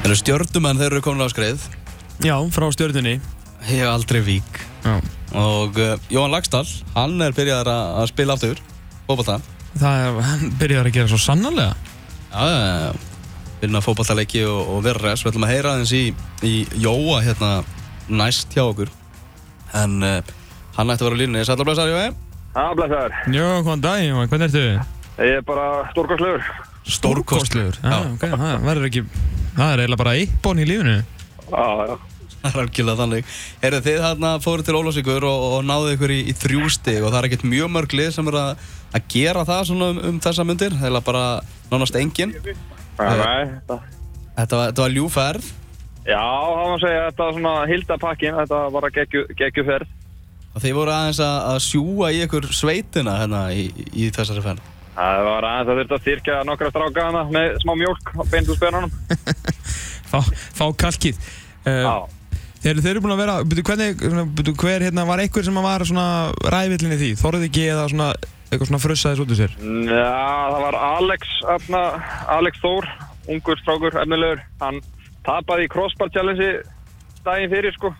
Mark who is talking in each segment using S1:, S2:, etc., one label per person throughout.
S1: Þeir eru stjórnumenn, þeir eru komin á skreið
S2: Já, frá stjörnunni
S1: Ég hef aldrei vík
S2: Já.
S1: Og uh, Jóhann Lagstall, hann er byrjaðar að að spila aftur Fótballta
S2: Það er, hann byrjar að gera svo sannarlega
S1: Já, já, já, já. Vinna fótballtaleiki og, og vera res. Við ætlum að heyra aðeins í, í Jóa hérna næst hjá okkur. En uh, hann ætti að vera á línunni. Sætla blessaður, Jói.
S3: Já, blessaður.
S2: Jó, hvaðan dag, hvernig ertu?
S3: Ég er bara stórkostlegur.
S2: Já, ok, það verður ekki Það er eiginlega bara íbón í lífinu
S3: Já, já.
S1: Það er algjörlega þannig. Heyrðu, þið hérna fóru til Ólásíkur og, og náðu ykkur í, í þrjú stig og það er ekkert mjög mörg lið sem er að, að gera það svona um, um þessa myndir. Það er bara nánast engin.
S3: Já,
S1: Eh.
S3: nei, þetta-
S1: Þetta var, þetta var ljúferð
S3: já það var að segja, þetta var svona hildapakkin, þetta var að geggju, geggju ferð.
S1: og þið voru aðeins að, að sjúa í ykkur sveitina hérna í, í þessari fenn.
S3: Það var aðeins að þurfti að styrkja nokkra stráka hana með smá mjólk á beintu spennunum.
S2: Fá, fá kalkið
S3: Já,
S2: uh, þeir, þeir eru búin að vera byrju, hvernig, byrju, Hver hérna var einhver sem var svona ræðvillinni því? Þorðið ekki eða svona eitthvað svona frussaðis út úr sér
S3: já, það var Alex, öfna, Alex Þór, ungur strákur, efnilegur. Hann tapaði í crossbar challenge daginn fyrir, sko.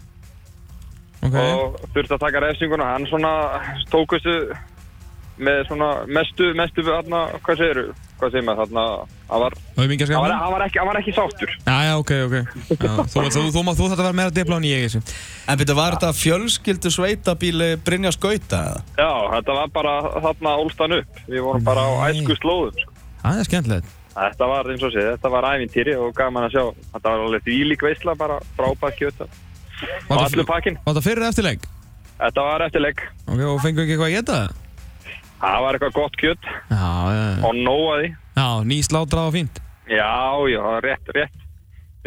S2: Ok,
S3: og þurfti að taka refsinguna hann svona tókustu með svona mestu, mestu hana, hvað segir hvað segir maður þarna hann var,
S2: auðvitað
S3: hann var,
S2: skafan
S3: hann var, ekki, hann var ekki sáttur
S2: Já, já, ok, ok já, Þú, þú, þú, þú, þú þarf að vera meira depla en ég þessu
S1: En byrja, var þetta fjölskyldu sveitabíli Brynja Skauta eða?
S3: já, þetta var bara þarna ólstan upp við vorum bara á
S2: Nei.
S3: æsku slóðum sko.
S2: Það er skemmtilegt
S3: þetta var eins og sé, þetta var ævintýri og gaman að sjá þetta var alveg þvílík veisla bara frábæð kjöta og
S2: Var
S3: allur
S2: það-
S3: pakkin,
S2: var það fyrir eða eftirleik?
S3: þetta var eftirleik
S2: Ok, og fengu ekki eitthvað að geta það?
S3: það var eitthvað gott kjöt
S2: Já, já,
S3: og nóaði
S2: já, nýslátra og fínt
S3: já, já, það var rétt, rétt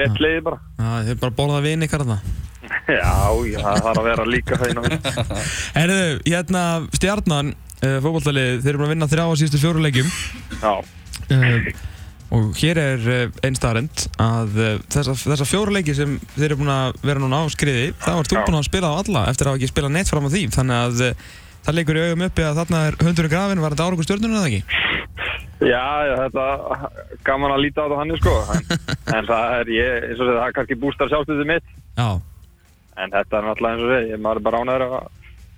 S3: rétt leiði bara
S2: Já, þið er bara að borða það vinn ykkar þarna
S3: já, já, það þarf að vera líka það í náttúrulega
S2: Herðu, hérna stjarnan uh, fótballtalið, þeir eru búin að vinna þrjá á síðustu fjóru leikjum
S3: Já,
S2: uh, og hér er uh, einstarind að uh, þessa, þessa fjóru leiki sem þeir eru búin að vera núna á skriði þá ert þú
S3: Já.
S2: búin að spila á alla eftir að hafa ekki spila neitt fram á því þannig að uh, það leikur í augum uppi að þarna er hundurinn grafin var þetta árangur stjörnunum eða ekki?
S3: já, já, þetta gaman að líta á þetta hann sko en, en það er, ég, eins og segja, það er kannski bústar sjálfstöðu mitt
S2: Já,
S3: en þetta er náttúrulega eins og segja, ég- maður er bara ánæður að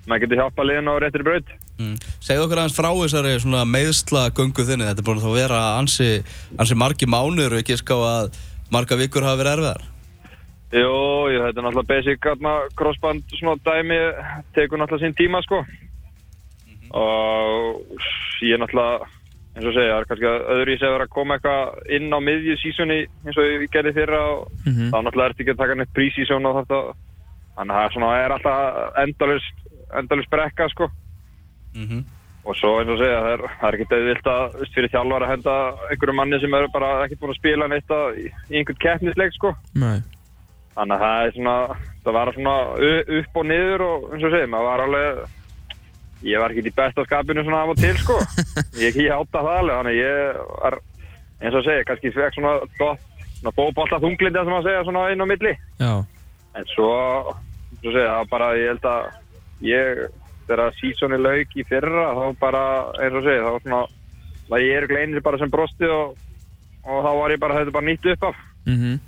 S3: maður getur hjálpa liðin á réttir braut
S1: Mm. Segðu okkur aðeins frá þessari svona meðslagöngu þinni, þetta er búin að þá vera ansi, ansi margi mánur og ekki ská að marga vikur hafa verið erfiðar.
S3: Jú, jú, þetta er náttúrulega basic atna, crossband svona dæmi tekur náttúrulega sín tíma sko og ég er náttúrulega eins og segja, það er kannski öðru í segja að koma eitthvað inn á miðju sísunni eins og ég gerði fyrra og
S2: Mhm.
S3: þá náttúrulega ertu ekki að taka neitt prísísjón og þetta þannig að það er svona, er alltaf endalust endalust brekka sko
S1: Mm -hmm.
S3: og svo eins og segja, það er, það er ekki döðvilt að þú veist, fyrir þjálfar að henda einhverju manni sem eru bara ekki búin að spila neitt að, í, í einhvern keppnisleik sko
S2: nei
S3: Þannig að það er svona, það var svona u- upp og niður og eins og segja, maður var alveg, ég var ekki í besta skapinu svona af og til sko. Ég, ég átta það alveg, þannig að ég var, eins og segja, kannski fekk svona dott, svona bóbolta þunglindi sem að segja svona inn á milli.
S2: Já,
S3: En svo, eins og segja, það var bara, ég held að ég, þegar sísoni lauk í fyrra, þá bara, eins og segja, það var svona, það ég er gleinir bara sem brosti og, og þá var ég bara, þetta er bara nýtt upp af
S2: mhm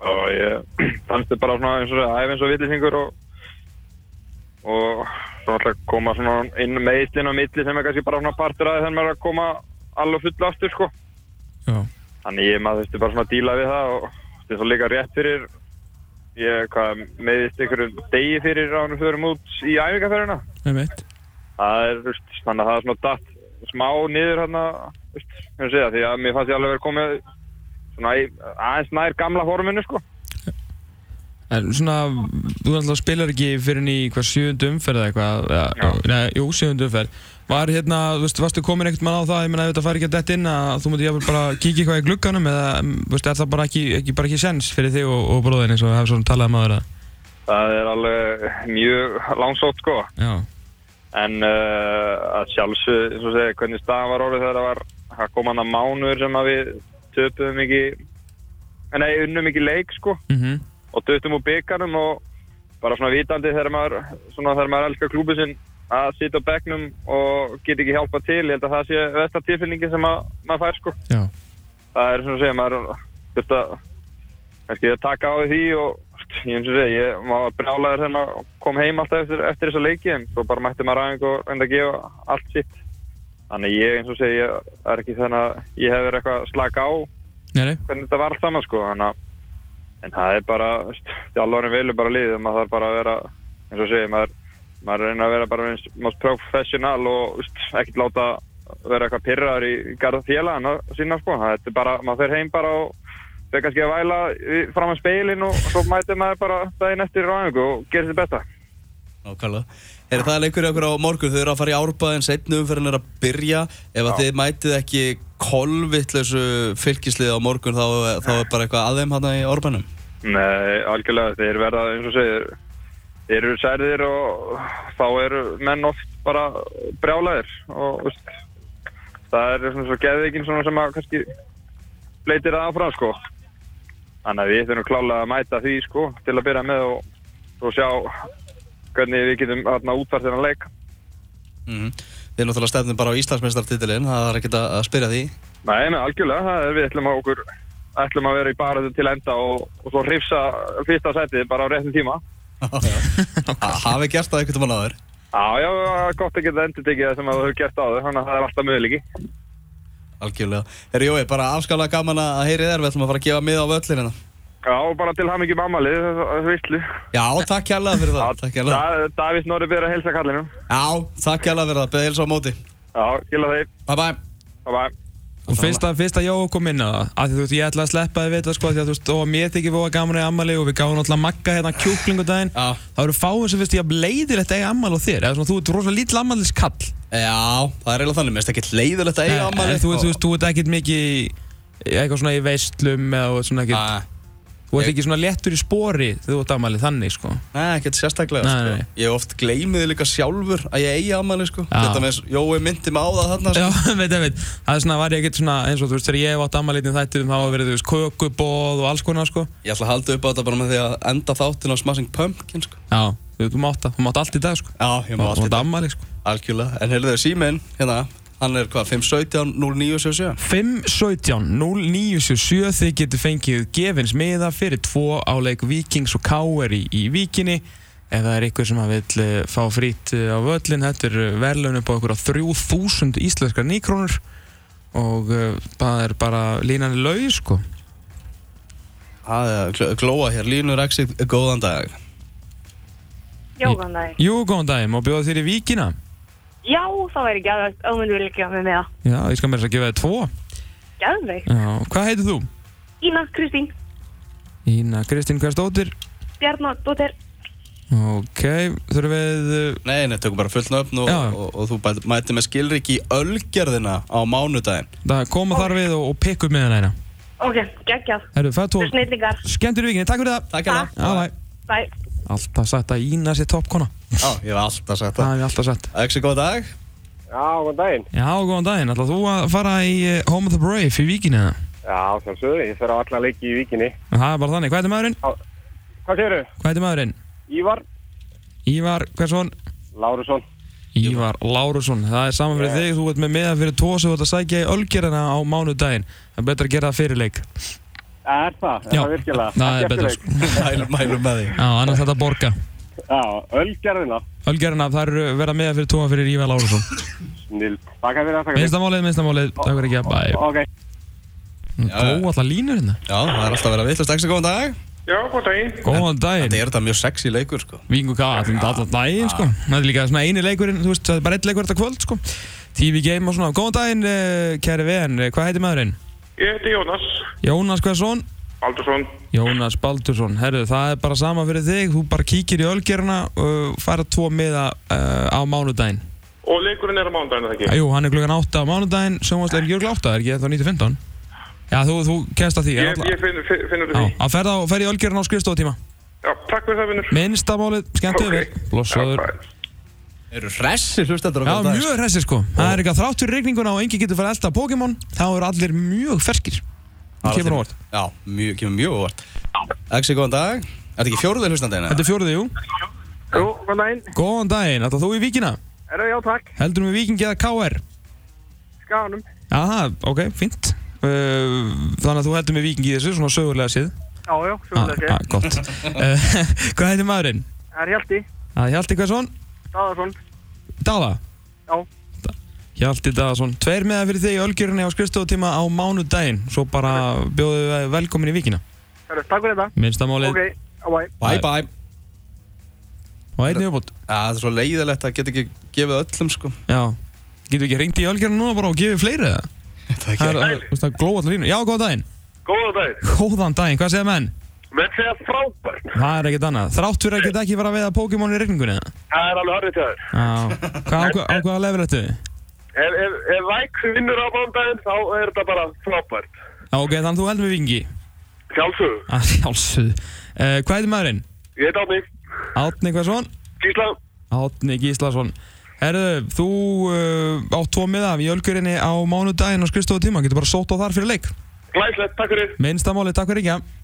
S3: og ég fannst þetta bara svona eins og æf eins og villisingur og og svo alltaf koma svona inn meðlinn á milli sem er kannski bara svona partur aðeins þannig maður er að koma alveg fulla aftur sko
S2: Já,
S3: þannig ég maður þurfti bara svona að díla við það og þetta er svo líka rétt fyrir ég hvað meðist einhverjum degi fyrir að hann förum út í æfingarferðina
S2: einmitt
S3: það er þú veist, þannig að það er svona datt smá niður hérna, hann að segja því að mér fannst ég alveg verið komið svona í- aðeins nær gamla forminu sko
S2: En svona, þú alltaf spilar ekki fyrir í hvað sjöundu umferð eða eitthvað eða, Nei, jú, sjöundu umferð Var hérna, þú veist, varstu komin einhvern mann á það, ég meina ef þetta fari ekki að dett inn að þú múti jafnvel bara kíkja eitthvað í glugganum eða, mm, þú veist, er það bara ekki, ekki, bara ekki sens fyrir þig og, og bróðin eins og hafa svona talað um aður að
S3: Það er alveg mjög langsótt sko
S2: Já,
S3: en uh, að sjálfsög eins og segja hvernig staðan var orðið þegar það var það kom hann að mánuður sem að við töpuðum ekki nei, unnum ekki leik sko
S2: mhm,
S3: og töptum úr byggarnum og bara svona vitandi þegar maður svona þegar maður elskar klúbið sinn að sitja á bekknum og geta ekki hjálpa til ég held að það sé versta tilfinningin sem að, maður fær sko
S2: já,
S3: það er svona að segja maður þurft að kannski að taka á því og ég eins og segi, ég var brjálæður þegar maður kom heim alltaf eftir, eftir þessa leiki en svo bara mætti maður aðeins og enda að gefa allt sitt þannig ég eins og segi, ég er ekki þannig að ég hefur eitthvað að slaka á
S2: Nei, nei.
S3: hvernig þetta var allt saman sko þannig að en það er bara, þjálfurinn velur bara liðið og maður þarf bara að vera eins og segi, maður, maður reynir að vera bara eins most professional og veist, ekkert láta vera eitthvað pyrraður í garða félagana sína sko það er bara, maður fer heim bara og fer kannski að væla í- fram að speilin og svo mætir maður bara daginn eftir ráðingu og gerir þetta besta
S1: Nákvæmlega. Er það leikur hjá okkur á morgun? Þau eru að fara í árbæðin setnu umferðin er að byrja. Ef að þið mætið ekki kolvittlausu fylgislið á morgun þá, þá er bara eitthvað aðeim hana í árbænum.
S3: Nei, algjörlega, þeir verða eins og segir þeir eru særðir og þá eru menn oft bara brjálæðir og veist, það er svona svo geðveikin svona sem að kannski bleitir það áfram sko þannig að við þurfum klálega að mæta því sko til að byrja með og, og sjá hvernig við getum þarna útfært þennan leik
S1: Mm. Þið er náttúrulega stefnum bara á Íslandsmeistartitilin, það er ekki að að spyrja því.
S3: Nei, nei, algjörlega, það er við ætlum að okkur ætlum að vera í barðu til enda og, og svo hrifsa fyrsta setið bara á réttum tíma
S1: Ha- Hafið gert það einhvern veginn áður.
S3: Já, já, það er gott að geta endur tekið það sem að þú hefur gert áður, þannig að það er alltaf möguleiki.
S1: Algjörlega. Herri Jói, bara afskalega gaman að heyri þér, við ætlum að fara að gefa mið á völlin hérna.
S3: Já, og bara til ham ekki mammalið, það er visslu.
S1: Já, takk hérlega fyrir það. Takk hérlega.
S3: Davís Norri byrja að helsa kallinum.
S1: Já, takk hérlega fyrir það. Beðið heilsa á móti.
S3: Já, gila þeir.
S1: Bye bye.
S3: Bye bye.
S2: Og fyrst að, fyrst að Jóa kom inn á það, af því þú veist, ég ætla að sleppa þið við þetta sko, af því að þú veist, og mér þykir við að gaman að eiga ammali og við gáðum alltaf magga hérna kjúklingu daginn.
S1: Já.
S2: Það eru fáin sem finnst ég að leiðilegt eiga ammali á þér, eða svona þú ert rosalega lítill ammaliðs kall.
S1: Já, það er eiginlega þannig, mér finnst ekki leiðilegt að eiga sko. afmæli.
S2: Eh, En þú veist, þú veist, þú ert ekkert mikið í, í eitthvað svona í veistlum eða þú ert svona ekkert,
S1: Ah.
S2: þú ert
S1: ég-
S2: ekki svona léttur í spori þegar þú ert ammali þannig sko.
S1: Nei, ekkert sérstaklega
S2: Nei,
S1: sko.
S2: nei.
S1: Ég oft gleymið líka sjálfur að ég eigi afmæli sko.
S2: Já.
S1: Þetta með Jói myndi mig á það þarna sko.
S2: Já, veit, veit, veit, það er svona, var ég ekkert svona, eins og þú veist, þegar ég hef átt ammaliðin þættum, þá hafa verið, þú veist, kökubóð og alls konar sko.
S1: Ég ætla að halda upp á þetta bara með því að enda þáttinn á Smashing Pumpkin sko.
S2: Já, þú veist, þú mátt það, þú mátt allt í dag sko.
S1: Já, ég má
S2: Þú
S1: alltaf
S2: mátt ammali sko.
S1: Algjörlega, en heyrðu þau síminn hérna Hann er hvað, 517-0977
S2: 517-0977 þið getur fengið gefins miða fyrir tvo áleik Vikings og K.R. í, í Víkinni ef það er ykkur sem að vill eh, fá frýtt eh, á völlin þetta er eh, verðlaun upp á ykkur á 3000 íslenskar nýkrónur og eh, það er bara línan er laug sko
S1: Það er að gl- glóa hér, Línur Exit, góðan dag
S4: Jóðan dag.
S2: Jú, góðan dag, má bjóða þér í Víkina
S4: Já, það væri gæðvægt. Óminn vil ekki hafa mig með það.
S2: Já, ég skal mér þess að gefa þér tvo
S4: Gæðvægt.
S2: Já, hvað heitir þú?
S4: Ína, Kristín,
S2: Ína Kristín Hversdóttir
S4: Bjarnar, Dóttir.
S2: Ok, þurfum við eh,
S1: Nei, nei, tökum bara fullt nöfn og,
S2: Já.
S1: og, og, þú bæ- mætir með skilrik í ölgerðina á mánudaginn
S2: að koma þar við og, og pikka upp miðan eina
S4: Ok, geggjað.
S2: Herru, fæðu
S4: Þú
S2: tvo
S4: er snillingar.
S2: Skemmtir í vikinni, takk fyrir það
S1: Takk hérna
S2: Já, bæ.
S4: Bæ.
S2: Alltaf sagt að Ína sé toppkona
S1: Já, ég hef alltaf sagt
S2: Það
S1: það
S2: hef ég alltaf sagt
S1: Exit, góðan dag
S3: Já, góðan daginn.
S2: Já, góðan daginn, ætlað þú að fara í eh, Home of the Brave í vikinni eða?
S3: Já, sjálfsögðu, ég fer á alla leiki í vikinni.
S2: Það er bara þannig, hvað heitir maðurinn?
S3: Hvað séru?
S2: Hvað heitir maðurinn?
S3: Ívar
S2: Ívar, hversson?
S3: Lárusson.
S2: Ívar Lárusson, það er saman fyrir þig, þú ert með meða fyrir tvo sem þú ert að sækja í ölgerina á mánudaginn Það er betra að gera það fyrir leik
S3: Er það?
S2: Já, það er betra sko.
S1: Mælum, mælum með því
S2: Já, annars þetta borga
S3: Já, ölgerðina.
S2: Ölgerina, það eru verða meða fyrir tvo fyrir Ívar Lárusson
S3: Snill. Takk fyrir það,
S2: Minnstamálið, minnstamálið, takk fyrir ekki að bæ
S3: Ok.
S2: Góð alltaf línur hérna
S1: Já, það er alltaf verið að vittlust Exit, góðan dag
S3: Já, góðan daginn.
S2: Góðan daginn
S1: Þetta er þetta mjög sexy leikur sko
S2: Víking og K.A. Það er alltaf daginn sko Það er líka svona eini leikurinn Þú veist, það er bara einn leikur þetta kvöld sko TV Game og svona Góðan daginn, uh, kæri VN eh, Hvað heitir maðurinn?
S5: Ég heiti Jónas
S2: Jónas Hversson
S5: Aldursson.
S2: Jónas Baldursson Herðu, það er bara sama fyrir þig Þú bara kíkir í ölgerina og fara tvo miða uh, á mánudaginn
S5: Og leikurinn er á mándaginu, það ekki?
S2: Jú, hann er klukkan 8 á mánudaginn Sjónvarsleir ekki klukkan 8, er ekki? Það er 9.15 Já, þú, þú kemst að því
S5: Ég, ég finn, finn, finnur
S2: Já,
S5: því.
S2: að ferða á, ferði í ölgerina á skrifstofutíma
S5: Já, takk fyrir það, vinnur.
S2: Minnstamálið, skemmt yfir Blossaður
S1: Eru hressi hlustendur
S2: Já, mjög hressir sko. Það er ekki að þrátt fyrir regninguna og enginn getur fara að elda Pokémon, þá eru allir mjög ferskir. Það kemur á orð.
S1: Já, mjög, kemur mjög á óvart Axi, góðan dag Er þetta ekki fjóruðið hlustandina?
S2: Þetta er fjóruðið, jú.
S5: Jú, góðan daginn.
S2: Góðan daginn, ætlað þú í Víkina?
S5: Er það já, takk.
S2: Heldur við Víkingi eða KR?
S5: Skanum.
S2: Aha, ok, fínt. Uh, þannig að þú heldur með Víkingi í þessu, svona sögulega séð.
S5: Já, já,
S2: Ah,
S5: svolítið
S2: ah,
S5: ekki.
S2: gott. Eh, Hvað heitir maðurinn?
S5: Það er Hjalti,
S2: Það er Hjalti Hversson?
S5: Daðarsson.
S2: Dala?
S5: Já.
S2: Da- Hjalti Daðarsson. Tveir meða fyrir þig í Ölgjörunni á skrifstofutíma á mánudaginn. Svo bara bjóðu við velkomin í vikina.
S5: Herru, takk fyrir þetta.
S2: Minnstamálið
S5: Ok,
S2: okay.
S5: á bæ.
S1: Bye bye
S2: og einnig uppbútt.
S1: Já, það er svo leiðilegt að geta ekki gefið öllum sko
S2: Já. Getur við ekki hringt í Ölgjörunni núna bara og gefið fleiri það?
S1: Það er
S2: Það er,
S1: ekki
S2: þú veist, það er glóð allir línu. Já, góðan daginn.
S5: Góða dag.
S2: Góðan daginn, hvað segja menn?
S5: Menn segja frábært.
S2: Það er ekkert annað. Þrátt fyrir að geta ekki verið að veiða Pokémon í regningunni. eða?
S5: Það er alveg horrið til þér.
S2: Já. Hvað, á, hvað- á hvaða level ertu?
S5: Ef, ef, ef Væk vinnur á bándaginn, þá er þetta bara frábært.
S2: Já, ok, þannig að þú heldur með vingi.
S5: Sjálfsög,
S2: Að sjálfsögðu. Uh, hvað heitir maðurinn?
S5: ég heit á mig.
S2: Átni Hversson?
S5: Gísla,
S2: Átni Gíslason. Herðu, þú uh, átt tvo miða í Ölgjörinni á mánudaginn og skrifstofu tíma. Getur bara sótt á þar fyrir leik.
S5: glæslegt, takk fyrir.
S2: Minnstamáli, takk fyrir ekki.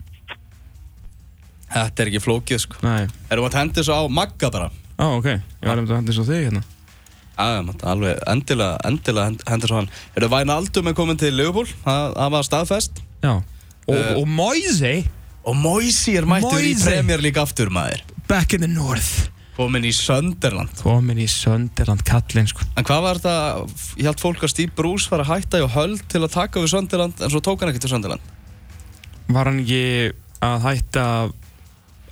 S1: Þetta er ekki flókið sko
S2: Nei.
S1: Erum við að hendi þessu á Magga bara
S2: Á, ok. Ég var um þetta að hendis á þig hérna.
S1: Já, já, mátt alveg, endilega, endilega hend- hendur svo hann Eru Wijnaldum er komin til Liverpool, það það var staðfest
S2: Já. Og,
S1: Eh.
S2: og Moise,
S1: Og Moisi er mættur í
S2: Moise.
S1: Premier League aftur maður
S2: back in the north.
S1: Komin í Sunderland
S2: Komin í Sönderland kallinn, sko.
S1: En hvað var þetta, ég held fólk að Steve Bruce var að hætta í höll til að taka við Sunderland En svo tók hann ekki til Sunderland
S2: Var hann ekki að hætta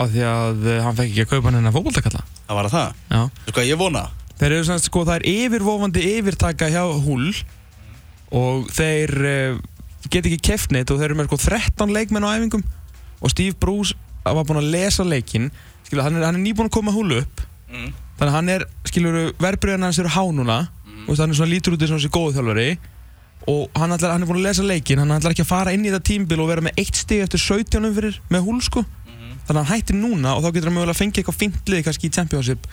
S2: af því að eh, hann fekk ekki að kaupa hann hennar fókbaltakalla?
S1: Það var að það,
S2: Já.
S1: þú hvað ég vona
S2: Þeir eru semst, sko, það er yfirvofandi yfirtaka hjá húl og þeir uh, get ekki keft neitt og þeir eru með sko 13 leikmenn á æfingum og Steve Bruce var búinn að lesa leikinn skilur, hann er, hann er nýbúinn að koma húlu upp
S1: Mm.
S2: þannig að hann er, skilur, verbreyðan hans eru há núna og veist, hann er svona lítur út eins og þessi góðu þjálfari og hann, ætlar, hann er búinn að lesa leikinn hann ætlar ekki að fara inn í þetta tímbil og vera með eitt stig eftir 17 umfyrir með húl sko
S1: mm.
S2: þannig að hann hættir núna og þá getur hann mögulega að fengja eitthvað fintlið kannski í Championship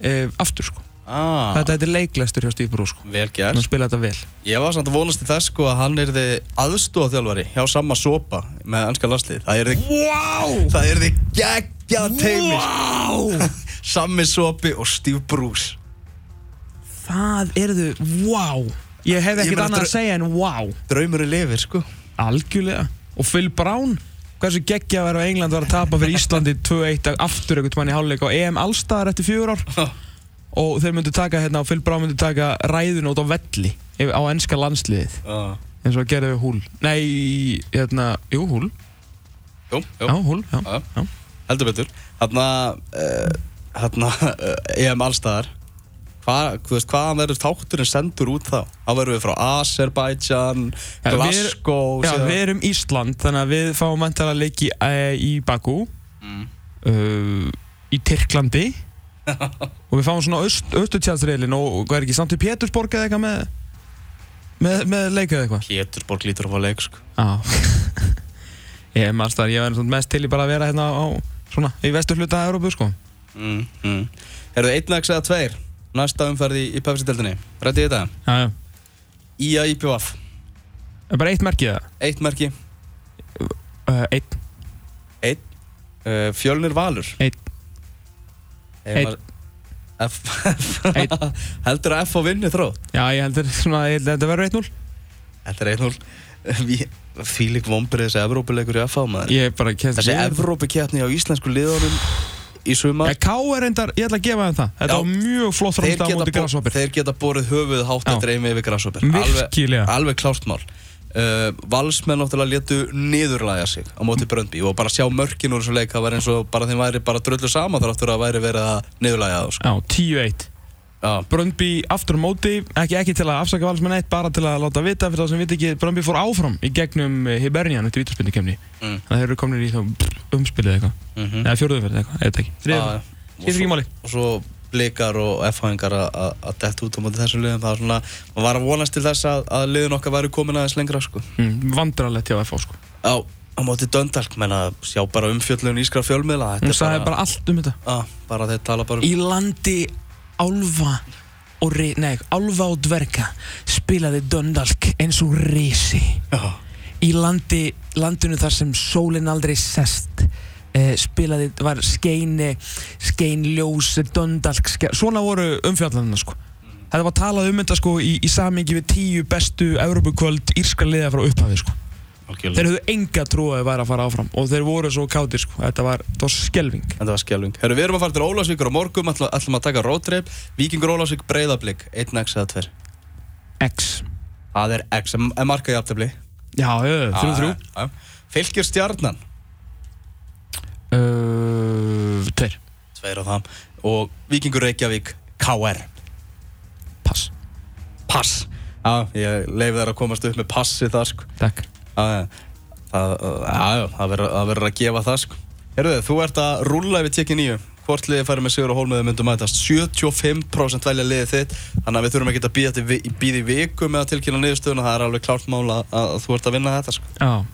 S2: uh, aftur sko
S1: ah,
S2: Þetta er leiklæstur hjá Steve Bruce sko.
S1: Vel
S2: Hann
S1: gert
S2: spila þetta vel
S1: Ég var samt að vonast til þess sko að hann er þið aðstóðaþjálfari hjá sama sopa með ennska landslið Það er þið wow! Það er þið geggja teimi wow! Sammi sko. sopi og Steve Bruce
S2: Það erðu, wow Ég hef
S1: Ég
S2: ekkert
S1: meina,
S2: annað að
S1: þetta
S2: segja en wow
S1: Draumurinn lifir sko
S2: Algjörlega Og Phil Brown Hversu geggja að vera á England var að tapa fyrir Íslandi 2-1 aftur einhvern mann í hálfleik á EM allstaðar eftir fjör ár
S1: Ha.
S2: og þeir myndu taka hérna og Phil Brown myndu taka ræðun út á velli yfir- á enska landsliðið
S1: uh,
S2: eins og að gera við húl Nei, hérna, jú húl
S1: Jú, jú,
S2: Já, húl, já,
S1: Já,
S2: já.
S1: heldur betur Þarna, uh, þarna uh, EM allstaðar Hva, þú veist, hvaðan verður þátturinn sendur út þá? Þá verður við frá Azerbaijan,
S2: Já, við-
S1: Glasgow
S2: Já,
S1: síðan-
S2: við erum Ísland, þannig að við fáum mentala leik í, eh, í Bakú uh, Í Tyrklandi Og við fáum svona aust, austutjálsreilin og, og hvað er ekki samt í Pétursborg eða eitthvað með Með, með leik eða eitthvað
S1: Pétursborg lítur á að leik sko
S2: Já Ég er maður, ég verður mest til í bara að vera hérna á Svona, í vestur hluta að Európu sko
S1: mm, mm. Herðu, einnaks eða tveir Næsta umferði í Pepsi-deltinni Rætti þetta?
S2: Já, já
S1: Ía IPVF
S2: Er bara eitt merkið það?
S1: Eitt merki
S2: Uh, eitt,
S1: Eitt uh, Fjölnir Valur
S2: eitt,
S1: Ef
S2: Einn.
S1: maður- F
S2: eitt
S1: Heldur að F á vinni þrótt
S2: Já, ég heldur svona, ég heldur að þetta verður 1-0
S1: Þetta er 1-0 Fílik vombri þessi Evrópuleikur í F á maður
S2: Ég er bara kemst
S1: Þessi
S2: við-
S1: Evrópukeppni á íslensku liðunum í
S2: Já,
S1: sumar
S2: K er reyndar, ég ætla að gefa þeim það Þetta
S1: Já.
S2: var mjög flott framist á móti
S1: bo-
S2: grasshoppir
S1: þeir geta borið höfuð hátt
S2: Já.
S1: eftir einu yfir grasshoppir
S2: Virkilega.
S1: alveg, alveg klárt mál uh, Valsmenn náttúrulega létu niðurlæga sig á móti Bröndby og bara sjá mörkin úr þessu leik það var eins og bara þeim væri bara drullu sama þar aftur að væri verið að niðurlæga þá sko.
S2: Já, 10-1
S1: Já.
S2: Bröndby aftur á móti, ekki, ekki til að afsaka valsmenn eitt bara til að láta vita fyrir þá sem við ekki, Bröndby fór áfram í gegnum eh, Hibernian eftir vítarspindikemni
S1: Mm.
S2: Þannig að þeir eru komnir í þá pff, umspilið eða eitthvað
S1: Mhm.
S2: Eða fjórðuferð eitthvað, eða ekki Þriðja
S1: Já,
S2: ferð.
S1: já. Og
S2: Skiptir ekki
S1: svo-
S2: máli.
S1: og svo blikar og F-hæðingar að detta út á móti þessum liðum það var svona, maður var að vonast til þess að, að liðun okkar væri komin aðeins lengra sko.
S2: Mm, Vandralegt hjá FH sko
S1: á, á móti Döndalk, menna sjá bara umfjöllun ískra fjölmiðla þetta
S2: Hún
S1: er
S2: sagði bara allt um þetta
S1: Á, bara þeir tala bara um
S2: Í landi álfa og, ri- nei, álfa og dverga spilaði Döndalk eins og risi
S1: Já.
S2: í landi, landinu þar sem sólinn aldrei sest eh, spilaði, var skeini skeinljós, döndalk ske, svona voru umfjallanina sko þetta var talað um þetta sko í, í samingi við tíu bestu Evropakvöld írska liða frá upphafi sko Þeir
S6: algjörlega
S2: höfðu enga trú að þau væri að fara áfram og þeir voru svo kátir sko, þetta var, þetta var skelving
S1: En það var skjálfing. Herru, við erum að fara til Ólásvíkur á morgum, ætlum, ætlum að taka roadtrip. Víkingur Ólásvík breyðablík, 1x eða 2.
S2: X
S1: Það er x, en en markaði aftabli.
S2: Já, já, já, þrjú, þrjú
S1: Fylgjur stjarnan,
S2: uh, Tveir,
S1: tveir á það. Og Víkingur Reykjavík, KR.
S2: pass,
S1: Pass. Já, ég leiði þær að komast upp með passi þar, sko.
S2: takk
S1: Já, já. Það, já, já, það verður- það verður að gefa það, sko. Herru, þú ert að rúlla yfir tekið nýju. Hvort liðið færi með Sigur og Hólmið myndum mætast? 75% velja liðið þitt, þannig að við þurfum ekki að býða, til, vi- býða í viku með að tilkynna niðurstöðuna. Það er alveg klárt mál að, að þú ert að vinna þetta, sko.
S2: Já.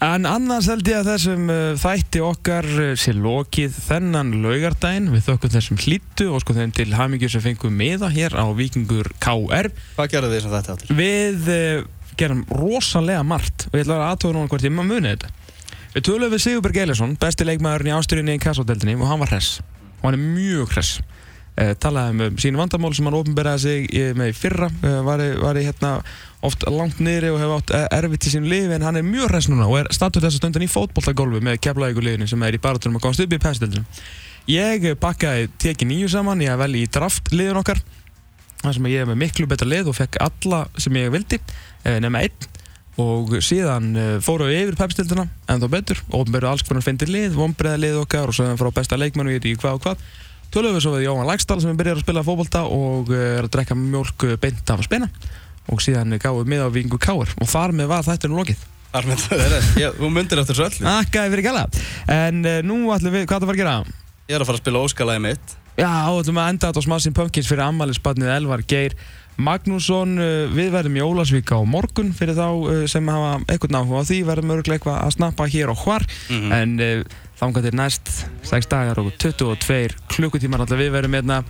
S2: En annars held ég að þessum uh, þætti okkar uh, sé lokið þennan laugardaginn við þökkum þessum hlýttu og sko þeim til hamingjur sem fengum meða hér á Víkingur KR.
S1: Hvað gerðu þið sem þetta allir?
S2: Við uh, gerum rosalega margt og ég ætla að aðtóða núna hvort ég maður muni þetta. Við töluðum við Sigurberg Eilersson, besti leikmaðurinn í ástyrjunni í kassadeldinni og hann var hress. Og hann er mjög hress. Uh, talaði um sín vandamál sem hann ofnberaði sig eh, með í fyrra, uh, var, í- var í hérna oft langt niðri og hefur átt eh, erfitt í sín lifi en hann er mjög hress núna og er statut þess að stundan í fótboltagolfi með keflaðíkuleginu sem er í baratunum að komast upp í pæstildinu. Ég eh, bakkaði teki nýju saman, ég vel í draft liðin okkar þar sem ég er með miklu betra lið og fekk alla sem ég vildi eh, nema einn og síðan eh, fóru við yfir pepstildina en þá betur, ofnbæru alls konar fyndir lið, vonbreiða lið okkar og svo frá besta leikmenn og ég veit ekki hvað og hvað tölum við svo við Jóhann Lagstall sem er byrjar að spila fótbolta og eh, er að drekka mjólk eh, beint af að spina og síðan gáðum við með á vingu káar og þar með var þetta nú lokið
S1: Armin, það er það. Ég- Þú myndir eftir þessu öllu.
S2: Akkaði fyrir gæla en eh, nú ætlum við, hvað það var að gera?
S1: Ég er að fara að spila óskalæði mitt.
S2: Já, og ætlum að enda þetta á Smashing Pumpkins fyrir ammælisbarnið Elvar Geir Magnússon, uh, við verðum í Ólasvík á morgun fyrir þá uh, sem hafa eitthvað náhuga á því, verðum örglega eitthvað að snappa hér og hvar,
S1: Mm. Mhm.
S2: en uh, þangar til næst, 6 dagar og 22 klukkutímar alltaf við verðum hérna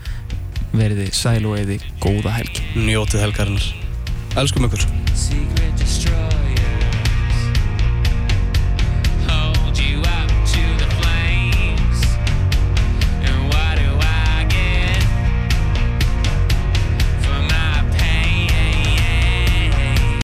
S2: verðið sæl og eði góða helgi
S1: Njótið helgarinnar. Elskum ykkur.
S7: secret destroyer.